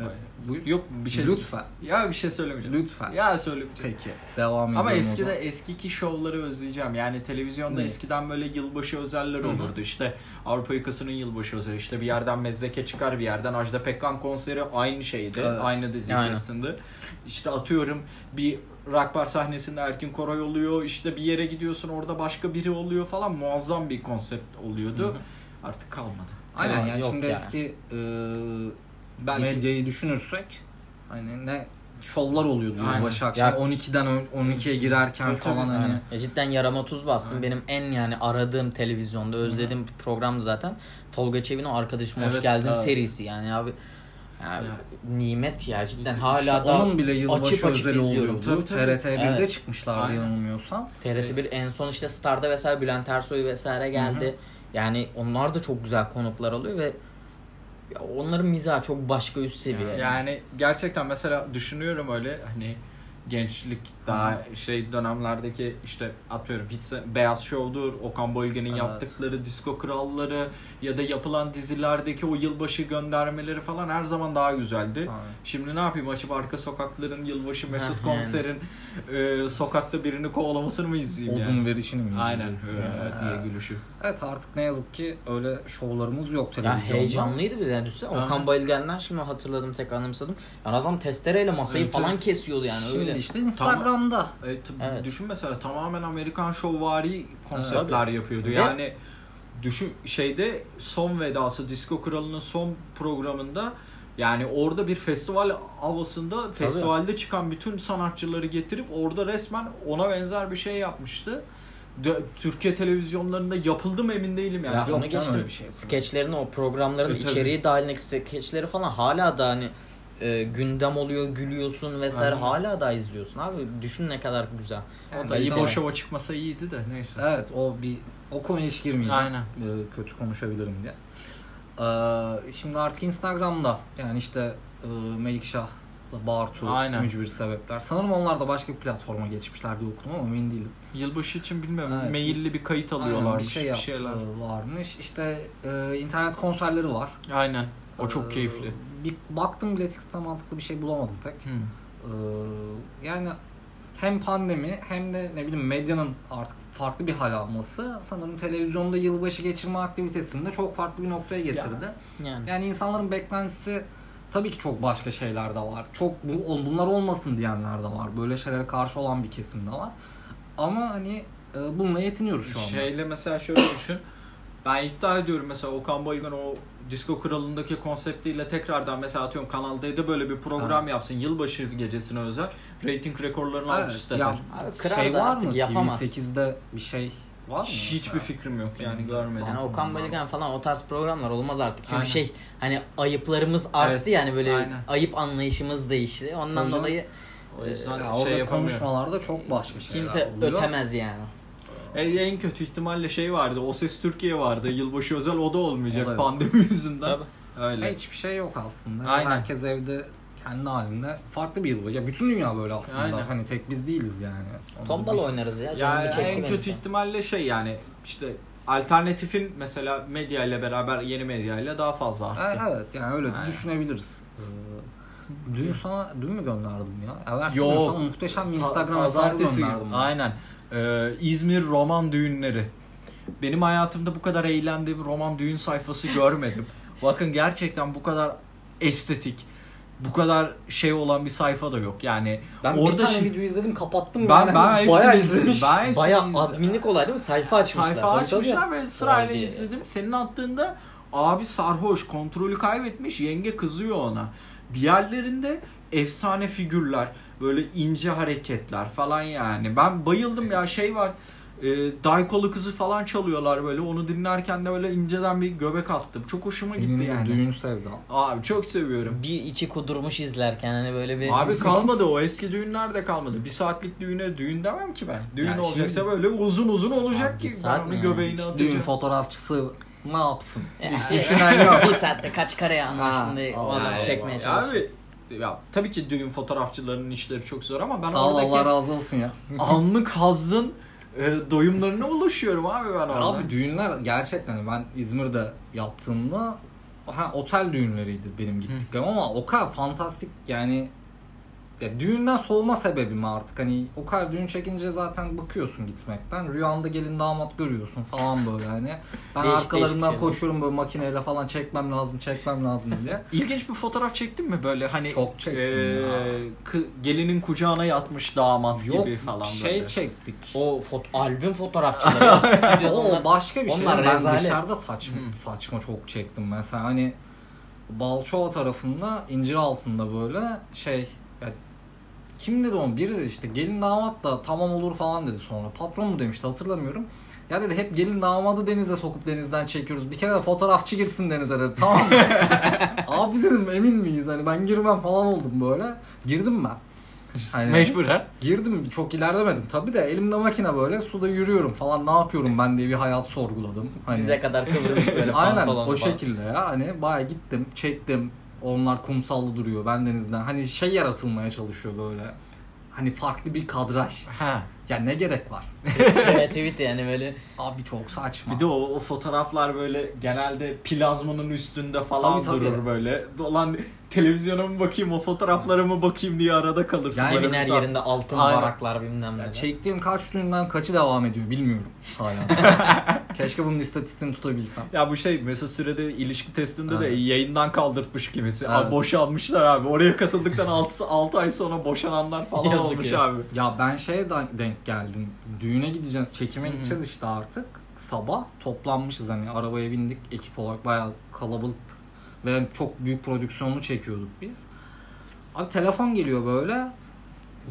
Ee, evet. buyur. Yok bir şey. Lütfen. Ya bir şey söylemeyeceğim. Lütfen. Ya söylemeyeceğim. Peki. Devam edelim Ama o eskide zaman. eskiki şovları özleyeceğim. Yani televizyonda Ne? eskiden böyle yılbaşı özeller olurdu. İşte Avrupa Yakası'nın yılbaşı özeli. İşte bir yerden Mezdeke çıkar bir yerden Ajda Pekkan konseri aynı şeydi. Evet. Aynı dizi Aynen. içerisinde. İşte atıyorum bir rock bar sahnesinde Erkin Koray oluyor. İşte bir yere gidiyorsun orada başka biri oluyor falan. Muazzam bir konsept oluyordu. Artık kalmadı. Aynen yani Yok şimdi yani. eski e, Belki- medyayı düşünürsek hani ne şovlar oluyordu Aynen. yılbaşı akşamı. Ya- 12'den on- 12'ye girerken Tabii, falan tabii. hani. Yani ya E, cidden yarama tuz bastım. Benim en yani aradığım televizyonda özlediğim bir program zaten Tolga Çevik'in o arkadaşım hoş Evet, geldin evet. serisi yani abi ya Evet. nimet ya cidden hala İşte da onun bile yılbaşı açıp açıp özeli izliyorum. oluyordu. Tabii, tabii. TRT 1'de Evet. çıkmışlardı Aynen. yanılmıyorsam. TRT1 en son işte Star'da vesaire Bülent Ersoy vesaire geldi. Yani onlar da çok güzel konuklar alıyor ve ya onların mizahı çok başka üst seviye. Yani gerçekten mesela düşünüyorum öyle hani gençlik daha şey dönemlerdeki işte atıyorum hiç Beyaz Şov'dur, Okan Bölge'nin Evet. yaptıkları disco kralları ya da yapılan dizilerdeki o yılbaşı göndermeleri falan her zaman daha güzeldi. Aynen. Şimdi ne yapayım açıp arka sokakların yılbaşı Mesut yani. Komiser'in e, sokakta birini kovalamasını mı izleyeyim yani? Odun verişini mi Aynen izleyeceksin? öyle yani? diye Evet. gülüşü. Evet artık ne yazık ki öyle şovlarımız yok Ya televizyonda. heyecanlıydı bir de. Yani düşünsene Okan Aynen. Bayülgen'den şimdi hatırladım tekrar anımsadım. Yani adam testereyle masayı Evet, falan evet. kesiyordu yani Şimdi öyle. işte Instagram'da. E, t- Evet. Düşün mesela tamamen Amerikan şovvari konseptler yapıyordu. Ve- Yani düşün şeyde son vedası Disco Kralı'nın son programında yani orada bir festival havasında festivalde çıkan bütün sanatçıları getirip orada resmen ona benzer bir şey yapmıştı. Dö- Türkiye televizyonlarında yapıldı mı emin değilim yani. Ya Yok canım, onu geçtim. öyle bir şey yapılmaz. Skeçlerini o programların E, tabii. içeriği dahilindeki skeçleri falan hala da hani e, gündem oluyor, gülüyorsun vesaire Aynen. hala da izliyorsun abi. Düşün ne kadar güzel. O Yani da iyi işte- boş şova çıkmasa iyiydi de neyse. Evet o bir o konuya hiç girmeyeceğim. Aynen. Ee, kötü konuşabilirim diye. Ee, şimdi artık Instagram'da yani işte e, Melikşah'la Bartu, Aynen. Mücbir Sebepler. Sanırım onlar da başka bir platforma geçmişler diye okudum ama emin değilim. Yılbaşı için bilmiyorum Evet. mailli bir kayıt Aynen, alıyorlarmış bir şey bir yap- şeyler. e, varmış. İşte e, internet konserleri var. Aynen. O çok Ee, keyifli. Hmm. Bir baktım Biletix'te mantıklı bir şey bulamadım pek. Hı. Ee, yani hem pandemi hem de ne bileyim medyanın artık farklı bir hal alması sanırım televizyonda yılbaşı geçirme aktivitesini de çok farklı bir noktaya getirdi. Yani. Yani insanların beklentisi tabii ki çok başka şeyler de var. Çok bu, ol- bunlar olmasın diyenler de var. Böyle şeylere karşı olan bir kesim de var. Ama hani e, bununla yetiniyoruz şu anda. Şeyle mesela şöyle düşün. Ben iddia ediyorum mesela Okan Bayülgen o disco kralındaki konseptiyle tekrardan mesela atıyorum Kanal D'de böyle bir program yapsın. Yılbaşı gecesine özel. Rating rekorlarını alt Evet, üst ya eder. Abi kral şey da var artık mı? yapamaz. TV8'de bir şey var mı? Hiçbir mesela? fikrim yok yani görmedim. Yani Okan Bayülgen falan o tarz programlar olmaz artık. Çünkü Aynen. şey hani ayıplarımız arttı yani böyle aynen. ayıp anlayışımız değişti. Ondan Tabii canım. dolayı O yüzden Ya şey e, orada yapamıyorum. konuşmalarda çok başka şeyler kimse Şey, oluyor. ötemez yani. E, en kötü ihtimalle şey vardı. O Ses Türkiye vardı. Yılbaşı özel o da olmayacak O da yok. pandemi yüzünden. Tabii. Öyle. Hiçbir şey yok aslında. Aynen. Herkes evde kendi halinde farklı bir yılbaşı. Ya bütün dünya böyle aslında. Aynen. Hani tek biz değiliz yani. Onun Tombala bir- oynarız ya. Ya Canım bir çekti en benim kötü şu an. ihtimalle şey yani işte alternatifin mesela medya ile beraber yeni medya ile daha fazla arttı. E, Evet yani öyle Aynen. düşünebiliriz. Ee, Dün sana dün mü gönderdim ya? Evvelsi gün Yok. sana muhteşem bir Pa- Instagram hesabı pazartesi günü. gönderdim. ben. Aynen. Ee, İzmir roman düğünleri. Benim hayatımda bu kadar eğlendiğim roman düğün sayfası *laughs* görmedim. Bakın gerçekten bu kadar estetik, bu kadar şey olan bir sayfa da yok. Yani Ben orada bir tane şimdi- video izledim kapattım. Ben- yani. ben hepsini Bayağı izledim. izlemiş. Ben hepsini Baya izledim. adminlik olay değil mi? Sayfa açmışlar. Sayfa Tabii açmışlar tabii. ve sırayla Vay be. izledim. Senin attığında abi sarhoş kontrolü kaybetmiş yenge kızıyor ona. Diğerlerinde efsane figürler böyle ince hareketler falan yani. Ben bayıldım ya şey var e, Daykalı kızı falan çalıyorlar böyle onu dinlerken de böyle inceden bir göbek attım. Çok hoşuma Senin gitti yani. düğün sevdan. Abi çok seviyorum. Bir içi kudurmuş izlerken hani böyle bir... *laughs* Abi kalmadı o eski düğünler de kalmadı. Bir saatlik düğüne düğün demem ki ben. Düğün Ya olacaksa şimdi- böyle uzun uzun olacak Abi ki ben saat onu ne göbeğine yani? atacağım. Düğün fotoğrafçısı ne yapsın? Ya, Hiç evet. düşünen şey yok. *laughs* bir saatte kaç kareye anlaştın diye o Allah adam Allah. çekmeye çalışıyor. Abi ya tabii ki düğün fotoğrafçılarının işleri çok zor ama ben Sağ ol Allah oradaki razı olsun ya. anlık hazın e, doyumlarına ulaşıyorum abi ben orada. Abi düğünler gerçekten hani ben İzmir'de yaptığımda ha, otel düğünleriydi benim gittiklerim ama o kadar fantastik yani ya düğünden soğuma sebebim artık hani o kadar düğün çekince zaten bakıyorsun gitmekten rüyanda gelin damat görüyorsun falan böyle hani ben Değişik değişik arkalarından şeyler. koşuyorum böyle makineyle falan çekmem lazım çekmem lazım diye. İlginç bir fotoğraf çektin mi böyle hani Çok çektim ya. kı- gelinin kucağına yatmış damat Yok gibi falan şey böyle. çektik. O foto albüm fotoğrafçıları. *laughs* ya, stüdyoda O onlar- başka bir şey. onlar ben rezalet. dışarıda saçma, saçma çok çektim mesela. Hani Balçova tarafında incir altında böyle şey ya, kim dedi onu? Biri dedi işte gelin damat da tamam olur falan dedi sonra. Patron mu demişti hatırlamıyorum. Ya dedi hep gelin damadı denize sokup denizden çekiyoruz. Bir kere de fotoğrafçı girsin denize dedi. *laughs* Tamam mı? Abi dedim emin miyiz? Hani ben girmem falan oldum böyle. Girdim ben. Hani, Mecburen. Girdim çok ilerlemedim tabi de elimde makine böyle suda yürüyorum falan ne yapıyorum ben diye bir hayat sorguladım. Hani, Dize kadar kıvırmış *laughs* böyle aynen pantolonu o falan. şekilde ya hani baya gittim çektim onlar kumsallı duruyor ben denizden hani şey yaratılmaya çalışıyor böyle hani farklı bir kadraj. Ha. Ya ne gerek var? Kreativite yani böyle Abi çok saçma. Bir de o, o fotoğraflar böyle genelde plazmanın üstünde falan Tabii, tabii. durur böyle. Dolan televizyona mı bakayım o fotoğraflara mı bakayım diye arada kalırsın. Yani böyle evin bir her saat. yerinde altın Aynen. varaklar bilmem ne. Ya çektiğim kaç düğünden kaçı devam ediyor bilmiyorum *laughs* hala. Keşke bunun istatistiğini tutabilsem. Ya bu şey Mesut Süre'de ilişki testinde de Aynen. yayından kaldırtmış kimisi. Evet. Abi boşanmışlar abi. Oraya katıldıktan 6, 6 ay sonra boşananlar falan Yazık olmuş ya. abi. Ya ben şeye de- denk geldim. Düğüne gideceğiz, çekime gideceğiz işte artık. Sabah toplanmışız hani arabaya bindik ekip olarak bayağı kalabalık ve çok büyük prodüksiyonlu çekiyorduk biz. Abi telefon geliyor böyle.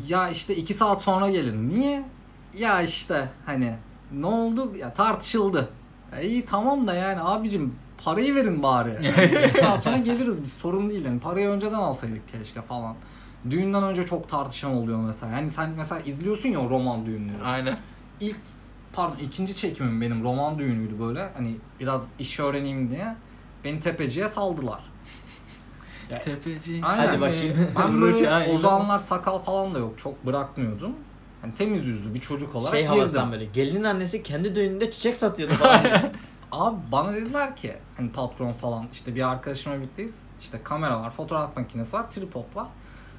Ya işte iki saat sonra gelin. Niye? Ya işte hani ne oldu? Ya tartışıldı. E iyi tamam da yani abicim parayı verin bari. Yani iki saat sonra geliriz biz sorun değil. Yani parayı önceden alsaydık keşke falan. Düğünden önce çok tartışan oluyor mesela. Yani sen mesela izliyorsun ya o roman düğünleri. Aynen. İlk pardon ikinci çekimim benim roman düğünüydü böyle. Hani biraz iş öğreneyim diye beni tepeciye saldılar. Tepeci. E, Aynen. Hadi bakayım. *laughs* *laughs* Ben böyle o zamanlar sakal falan da yok. Çok bırakmıyordum. Hani temiz yüzlü bir çocuk olarak Şey girdim. havasından böyle. Gelinin annesi kendi düğününde çiçek satıyordu falan. Abi bana dediler ki hani patron falan işte bir arkadaşıma birlikteyiz. İşte kamera var, fotoğraf makinesi var, tripod var.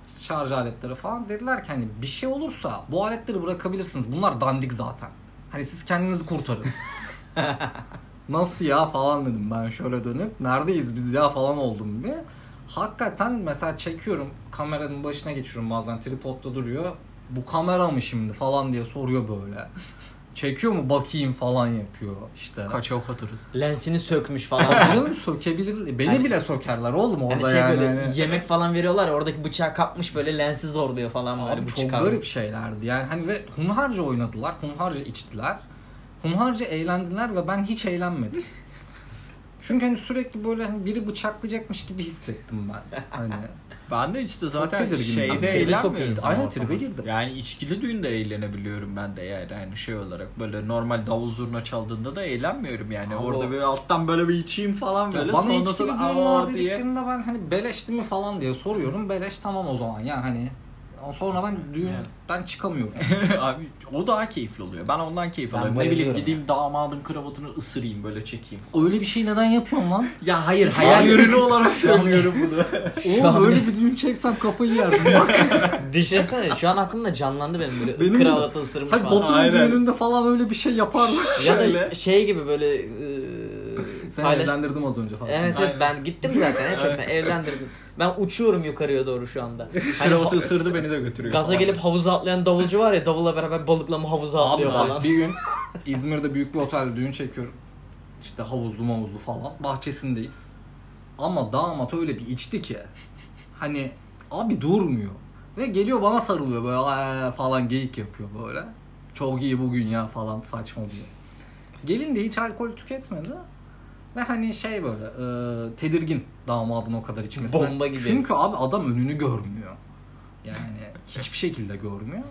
işte şarj aletleri falan. Dediler ki hani bir şey olursa bu aletleri bırakabilirsiniz. Bunlar dandik zaten. Hani siz kendinizi kurtarın. Nasıl ya falan dedim ben şöyle dönüp. Neredeyiz biz ya falan oldum bir. Hakikaten mesela çekiyorum kameranın başına geçiyorum bazen tripodda duruyor. Bu kamera mı şimdi falan diye soruyor böyle. Çekiyor mu bakayım falan yapıyor işte. Kaça otururuz. Lensini sökmüş falan. Canım sökebilir. Beni Hani- bile sökerler oğlum orada Hani şey yani. böyle Hani- yemek falan veriyorlar ya, oradaki bıçağı kapmış böyle lensi zorluyor falan böyle Abi bu çok çıkarmış. garip şeylerdi. Yani hani ve hunharca oynadılar, hunharca içtiler. Hunharca eğlendiler ve ben hiç eğlenmedim. Çünkü hani sürekli böyle hani biri bıçaklayacakmış gibi hissettim ben. Hani Ben de işte zaten tedirginim. şeyde Tribe eğlenmiyorum. sokuyoruz. aynı Ama tribe girdim. Yani içkili düğünde eğlenebiliyorum ben de yani yani şey olarak böyle normal davul zurna çaldığında da eğlenmiyorum yani. Abi Orada o- bir alttan böyle bir içeyim falan Ya böyle. bana Sonrasında içkili düğün "Aa" var dediklerinde ben hani beleşti mi falan diye soruyorum. Beleş tamam o zaman yani hani sonra ben düğünden çıkamıyorum. *laughs* *laughs* Abi o daha keyifli oluyor. Ben ondan keyif Ben alıyorum. Ne bileyim bayılıyorum gideyim damadın kravatını ısırayım böyle çekeyim. Öyle bir şey neden yapıyorsun lan? Ya hayır hayal ürünü olarak söylüyorum bunu. Oğlum öyle bir düğün çeksem kafayı yerdim. *laughs* Bak Düşünsene şu an aklımda canlandı benim böyle Benim de- kravatı ısırmış Hani falan. Batu'nun Aynen. düğününde falan öyle bir şey yaparlar. Ya Şöyle. da şey gibi böyle e, Seni paylaş- evlendirdim az önce falan. Evet evet, Aynen. ben gittim *laughs* zaten ya çöpe evlendirdim. Ben uçuyorum yukarıya doğru şu anda. Hani Kravatı ha- ısırdı beni de götürüyor. gaza falan. gelip havuza atlayan davulcu var ya davulla beraber balıklama havuza Abi atlıyor bak, falan. bir *laughs* gün İzmir'de büyük bir otelde düğün çekiyorum. İşte havuzlu mavuzlu falan. Bahçesindeyiz. Ama damat öyle bir içti ki. Hani abi durmuyor. Ve geliyor bana sarılıyor böyle "Aa" falan geyik yapıyor böyle. Çok iyi bugün ya falan saçma diyor. Gelin de hiç alkol tüketmedi. Ve hani şey böyle e, tedirgin damadın o kadar içmesine. Bomba gibi. Çünkü abi adam önünü görmüyor. Yani hiçbir şekilde görmüyor.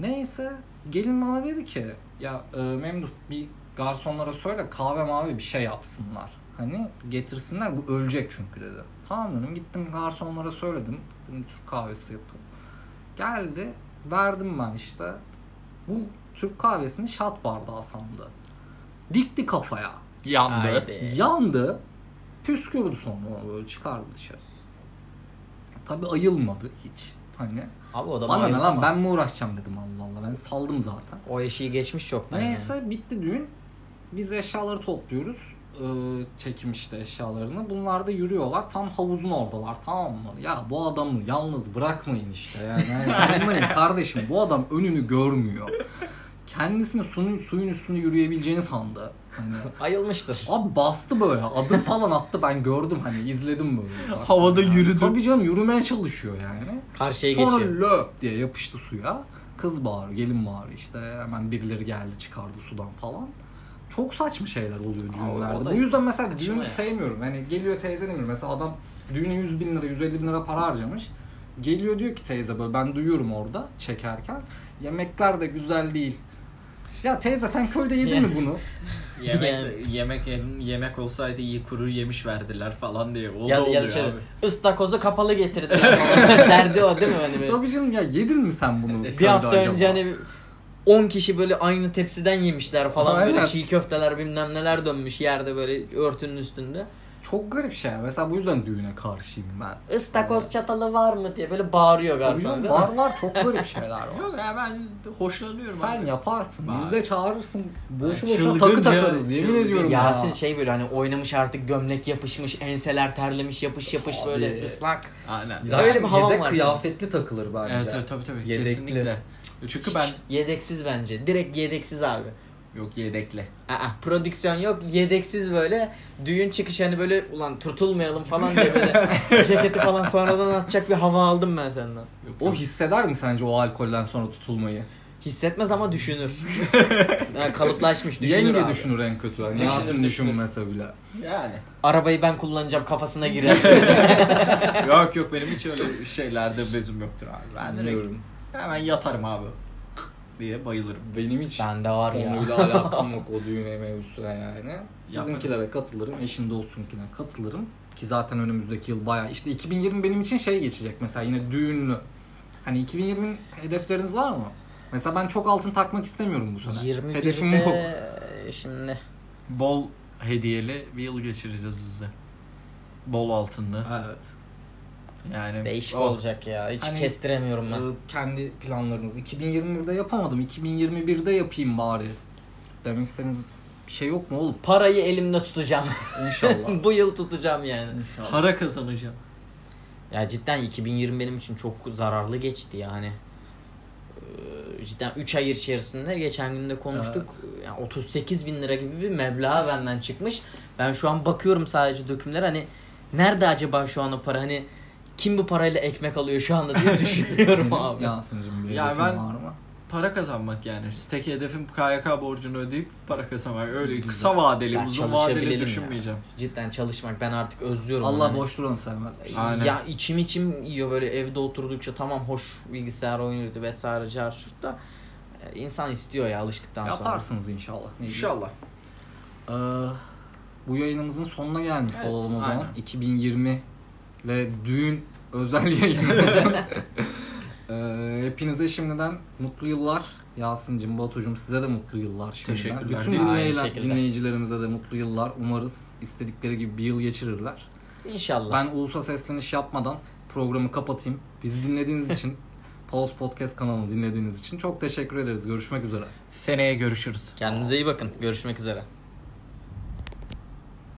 Neyse gelin bana dedi ki ya e, Memduh bir garsonlara söyle kahve mavi bir şey yapsınlar. Hani getirsinler bu ölecek çünkü dedi. Tamam dedim gittim garsonlara söyledim. Dedim Türk kahvesi yapın. Geldi verdim ben işte. Bu Türk kahvesini şat bardağı sandı. Dikti kafaya. yandı. Haydi. Yandı. Püskürdü sonra böyle çıkardı dışarı. Tabi ayılmadı hiç. Hani Abi o da bana ne bayıldı lan ama. ben mi uğraşacağım dedim Allah Allah ben saldım zaten. O eşiği geçmiş çoktan. yani. Neyse bitti düğün. Biz eşyaları topluyoruz. Ee, çekim işte eşyalarını. Bunlar da yürüyorlar. Tam havuzun oradalar tamam mı? Ya bu adamı yalnız bırakmayın işte. Yani, *laughs* yani anlayın kardeşim bu adam önünü görmüyor. Kendisini suyun, suyun üstünde yürüyebileceğini sandı. Hani, Ayılmıştır. abi bastı böyle adım falan attı ben gördüm hani izledim böyle. Havada Yani yürüdü. Tabii canım yürümeye çalışıyor yani. Karşıya Sonra geçiyor. löp diye yapıştı suya. Kız bağırıyor, gelin bağırıyor işte. Hemen birileri geldi çıkardı sudan falan. Çok saçma şeyler oluyor o düğünlerde. da Bu yüzden mesela düğünü ya. sevmiyorum. Hani geliyor teyze demiyor. Mesela adam düğüne 100 bin lira, 150 bin lira para harcamış. Geliyor diyor ki teyze böyle ben duyuyorum orada çekerken. Yemekler de güzel değil. Ya teyze sen köyde yedin Yani- *laughs* mi bunu? *laughs* Yemek, Yani- yemek yemek olsaydı iyi kuru yemiş verdiler falan diye. Ya, O da ya da oluyor şöyle, abi. ıstakozu *laughs* kapalı getirdiler falan. Derdi o değil mi? Hani böyle. Tabii canım ya yedin mi sen bunu? bir köyde hafta acaba? önce hani 10 kişi böyle aynı tepsiden yemişler falan Aynen. böyle çiğ köfteler bilmem neler dönmüş yerde böyle örtünün üstünde. Çok garip şey. Mesela bu yüzden düğüne karşıyım ben. Istakoz çatalı var mı diye böyle bağırıyor Tabii garson. canım, değil mi? var var çok garip şeyler *laughs* var. Yok ya ben hoşlanıyorum. Sen abi. yaparsın. Var. Biz de çağırırsın. Boşu Ay, boşuna takı çılgınca, takarız. Yemin çılgın. ediyorum ya. Yasin şey böyle hani oynamış artık gömlek yapışmış, enseler terlemiş, yapış yapış Abi. böyle ıslak. Aynen. Zaten Öyle bir havan yedek var senin. kıyafetli takılır bence. Evet, evet tabii tabii Yedekli. kesinlikle. Çünkü Hiç ben yedeksiz bence. Direkt yedeksiz abi. yok yedekle. Aa, prodüksiyon yok. Yedeksiz böyle düğün çıkışı hani böyle ulan turtulmayalım falan diye böyle *laughs* ceketi falan sonradan atacak bir hava aldım ben senden. Yok, O hisseder mi sence o alkolden sonra tutulmayı? Hissetmez *laughs* ama düşünür. Yani kalıplaşmış düşünür Yenge abi. düşünür en kötü. Yani Düşünür, Yasin düşünür. düşünmese bile. yani. Arabayı ben kullanacağım *laughs* kafasına girer. yok yok benim hiç öyle şeylerde bezim yoktur abi. Ben direkt Bilmiyorum. hemen yatarım abi diye bayılırım. Benim hiç Bende var ya. konuyla alakam yok o düğüne mevzusuna yani. Sizinkilere katılırım, eşin dostsunkine katılırım. Ki zaten önümüzdeki yıl bayağı işte 2020 benim için şey geçecek mesela yine düğünlü. Hani 2020'nin hedefleriniz var mı? Mesela ben çok altın takmak istemiyorum bu sene. Hedefim bu. 21'de şimdi Bol hediyeli bir yıl geçireceğiz biz de. Bol altınlı. Evet. Yani değişik o- olacak ya. Hiç Hani- kestiremiyorum ben. Ee, kendi planlarınızı 2021'de yapamadım. 2021'de yapayım bari. Demek istediğiniz bir şey yok mu oğlum? Parayı elimde tutacağım. *laughs* İnşallah. Bu yıl tutacağım yani. İnşallah. Para kazanacağım. Ya cidden 2020 benim için çok zararlı geçti yani. Ee, Cidden 3 ay içerisinde geçen gün de konuştuk. Yani 38 bin lira gibi bir meblağ benden çıkmış. Ben şu an bakıyorum sadece dökümlere hani nerede acaba şu an o para hani kim bu parayla ekmek alıyor şu anda *laughs* diye düşünüyorum abi. Yasin'cim bir Ya hedefin ben- var mı? Para kazanmak yani. Tek hedefim KYK borcunu ödeyip para kazanmak. Öyle kısa vadeli, Ya uzun vadeli çalışabilelim düşünmeyeceğim. Cidden çalışmak ben artık özlüyorum. Allah onu. boş duranı sevmez. Aynen. Ya içim içim yiyor böyle evde oturdukça tamam hoş bilgisayar oynuyordu vesaire carçurt da e, insan istiyor ya alıştıktan sonra. Yaparsınız inşallah. Ne diyeyim? Ee, bu yayınımızın sonuna gelmiş Evet, olalım o zaman. aynen. 2020 ve düğün özel *laughs* *laughs* yayınımızın. Ee, hepinize şimdiden mutlu yıllar. Yasin'cim, Batu'cum size de mutlu yıllar şimdiden. Teşekkürler. Bütün Aynı dinleyiler, şekilde. dinleyicilerimize de mutlu yıllar. Umarız istedikleri gibi bir yıl geçirirler. İnşallah. Ben ulusa sesleniş yapmadan programı kapatayım. Bizi dinlediğiniz *laughs* için, Pause Podcast kanalını dinlediğiniz için çok teşekkür ederiz. Görüşmek üzere. Seneye görüşürüz. Kendinize iyi bakın. Görüşmek üzere.